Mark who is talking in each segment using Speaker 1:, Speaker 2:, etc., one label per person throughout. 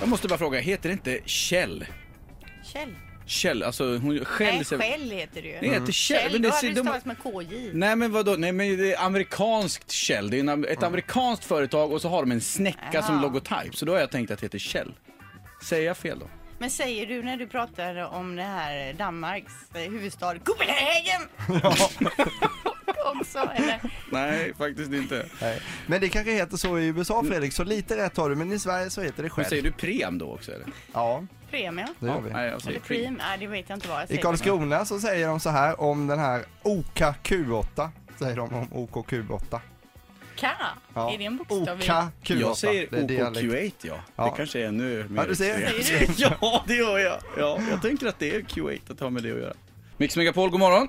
Speaker 1: Jag måste bara fråga, heter det inte Kjell?
Speaker 2: Kjell.
Speaker 1: Kjell, alltså hon
Speaker 2: Nej,
Speaker 1: Kjell. säger-
Speaker 2: Skäll heter det ju.
Speaker 1: Det heter Kjell.
Speaker 2: Kjell,
Speaker 1: men
Speaker 2: då
Speaker 1: det,
Speaker 2: hade det
Speaker 1: de-
Speaker 2: stavats med KJ.
Speaker 1: Nej men vadå, nej men det är amerikanskt Shell. Det är en, am- ett amerikanskt företag och så har de en snäcka
Speaker 2: Jaha.
Speaker 1: som logotyp. Så då har jag tänkt att det heter Shell. Säger jag fel då?
Speaker 2: Men säger du när du pratar om det här Danmarks eh, huvudstad Copenhagen? Också, eller?
Speaker 1: Nej, faktiskt inte.
Speaker 3: Nej. Men det kanske heter så i USA Fredrik, så lite rätt har du, men i Sverige så heter det
Speaker 1: Men
Speaker 3: själv.
Speaker 1: säger du Prem då också eller?
Speaker 3: Ja,
Speaker 2: Premia?
Speaker 3: det gör vi.
Speaker 1: Nej, jag säger
Speaker 2: Eller
Speaker 1: Prem.
Speaker 2: prim? Nej, det vet jag inte vad jag
Speaker 3: I
Speaker 2: säger.
Speaker 3: Karlskrona så säger de så här om den här OKQ8, säger de om OKQ8.
Speaker 2: K? Är det en bokstav? i-
Speaker 3: OKQ8.
Speaker 1: Jag säger
Speaker 3: det är dialekt.
Speaker 1: OKQ8 ja.
Speaker 3: Ja.
Speaker 1: Det kanske är ännu mer
Speaker 3: Ja, du ser.
Speaker 1: extremt.
Speaker 2: Säger du?
Speaker 1: Ja, det gör jag. Ja, jag tänker att det är Q8 att ha med det att göra. Mix Megapol, god morgon.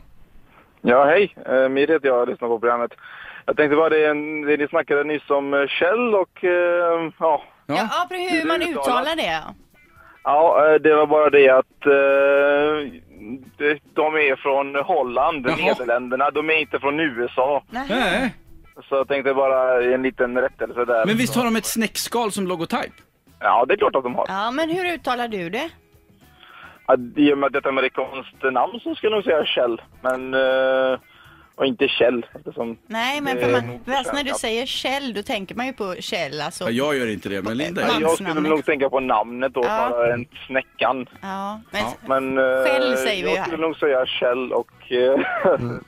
Speaker 4: Ja, hej. Eh, Mir heter jag och lyssnar på programmet. Jag tänkte bara det, det ni snackade nyss om eh, Kjell och eh, ja.
Speaker 1: Ja.
Speaker 2: Ja, precis hur man
Speaker 4: Hur uttalas?
Speaker 2: uttalar det.
Speaker 4: Ja, eh, det var bara det att eh, de- de är från Holland,
Speaker 1: Jaha.
Speaker 4: Nederländerna. De är inte från USA.
Speaker 2: Nej.
Speaker 1: Nej.
Speaker 4: Så jag tänkte bara en liten rättelse där.
Speaker 1: Men visst har de ett snäckskal som logotyp?
Speaker 4: Ja, det är klart att de har.
Speaker 2: Ja, men hur uttalar du det?
Speaker 4: Ja. I och med att det är ett amerikanskt namn så skulle jag nog säga Kjell. Men, eh, och inte Kjell eftersom...
Speaker 2: Nej, men
Speaker 4: Det
Speaker 2: för
Speaker 4: är
Speaker 2: man,
Speaker 4: nog
Speaker 2: fast när du
Speaker 4: försäkrat.
Speaker 2: säger Kjell, då tänker man ju på Kjell, alltså.
Speaker 1: Ja, jag gör inte det, men Linda gör
Speaker 2: Ja,
Speaker 1: det.
Speaker 4: Jag skulle
Speaker 2: Mansnamnet.
Speaker 4: nog tänka på namnet då,
Speaker 2: Ja.
Speaker 4: snarare än snäckan.
Speaker 2: Ja, men
Speaker 1: Ja.
Speaker 4: Men
Speaker 2: Skäll
Speaker 4: eh,
Speaker 2: säger vi ju
Speaker 4: jag
Speaker 2: här.
Speaker 4: skulle nog säga Kjell och eh,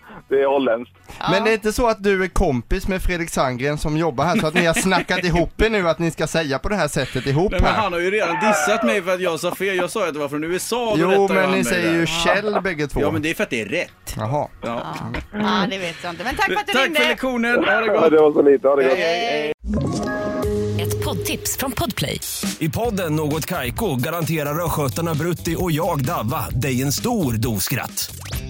Speaker 4: det är holländskt.
Speaker 2: Ja.
Speaker 3: Men det är inte så att du är kompis med Fredrik Sandgren som jobbar här, så att ni har snackat ihop er nu att ni ska säga på det här sättet ihop
Speaker 1: Nej, men
Speaker 3: här?
Speaker 1: han har ju redan dissat mig för att jag sa fel. Jag sa ju att det var från USA. och då
Speaker 3: Jo,
Speaker 1: rättade
Speaker 3: men
Speaker 1: han
Speaker 3: ni
Speaker 1: mig
Speaker 3: säger
Speaker 1: där.
Speaker 3: ju Kjell bägge två.
Speaker 1: Ja, men det är för att det är rätt.
Speaker 3: Jaha.
Speaker 1: Ja.
Speaker 2: ja. ja, det vet jag inte. Men tack för att du
Speaker 1: Tack
Speaker 2: ringde!
Speaker 1: för lektionen. Ha det
Speaker 4: Ja,
Speaker 1: gott.
Speaker 4: det var så lite. Ha det gott.
Speaker 5: Ett poddtips från Podplay.
Speaker 6: I podden Något Kaiko garanterar östgötarna Brutti och jag, Davva, dig en stor dos skratt.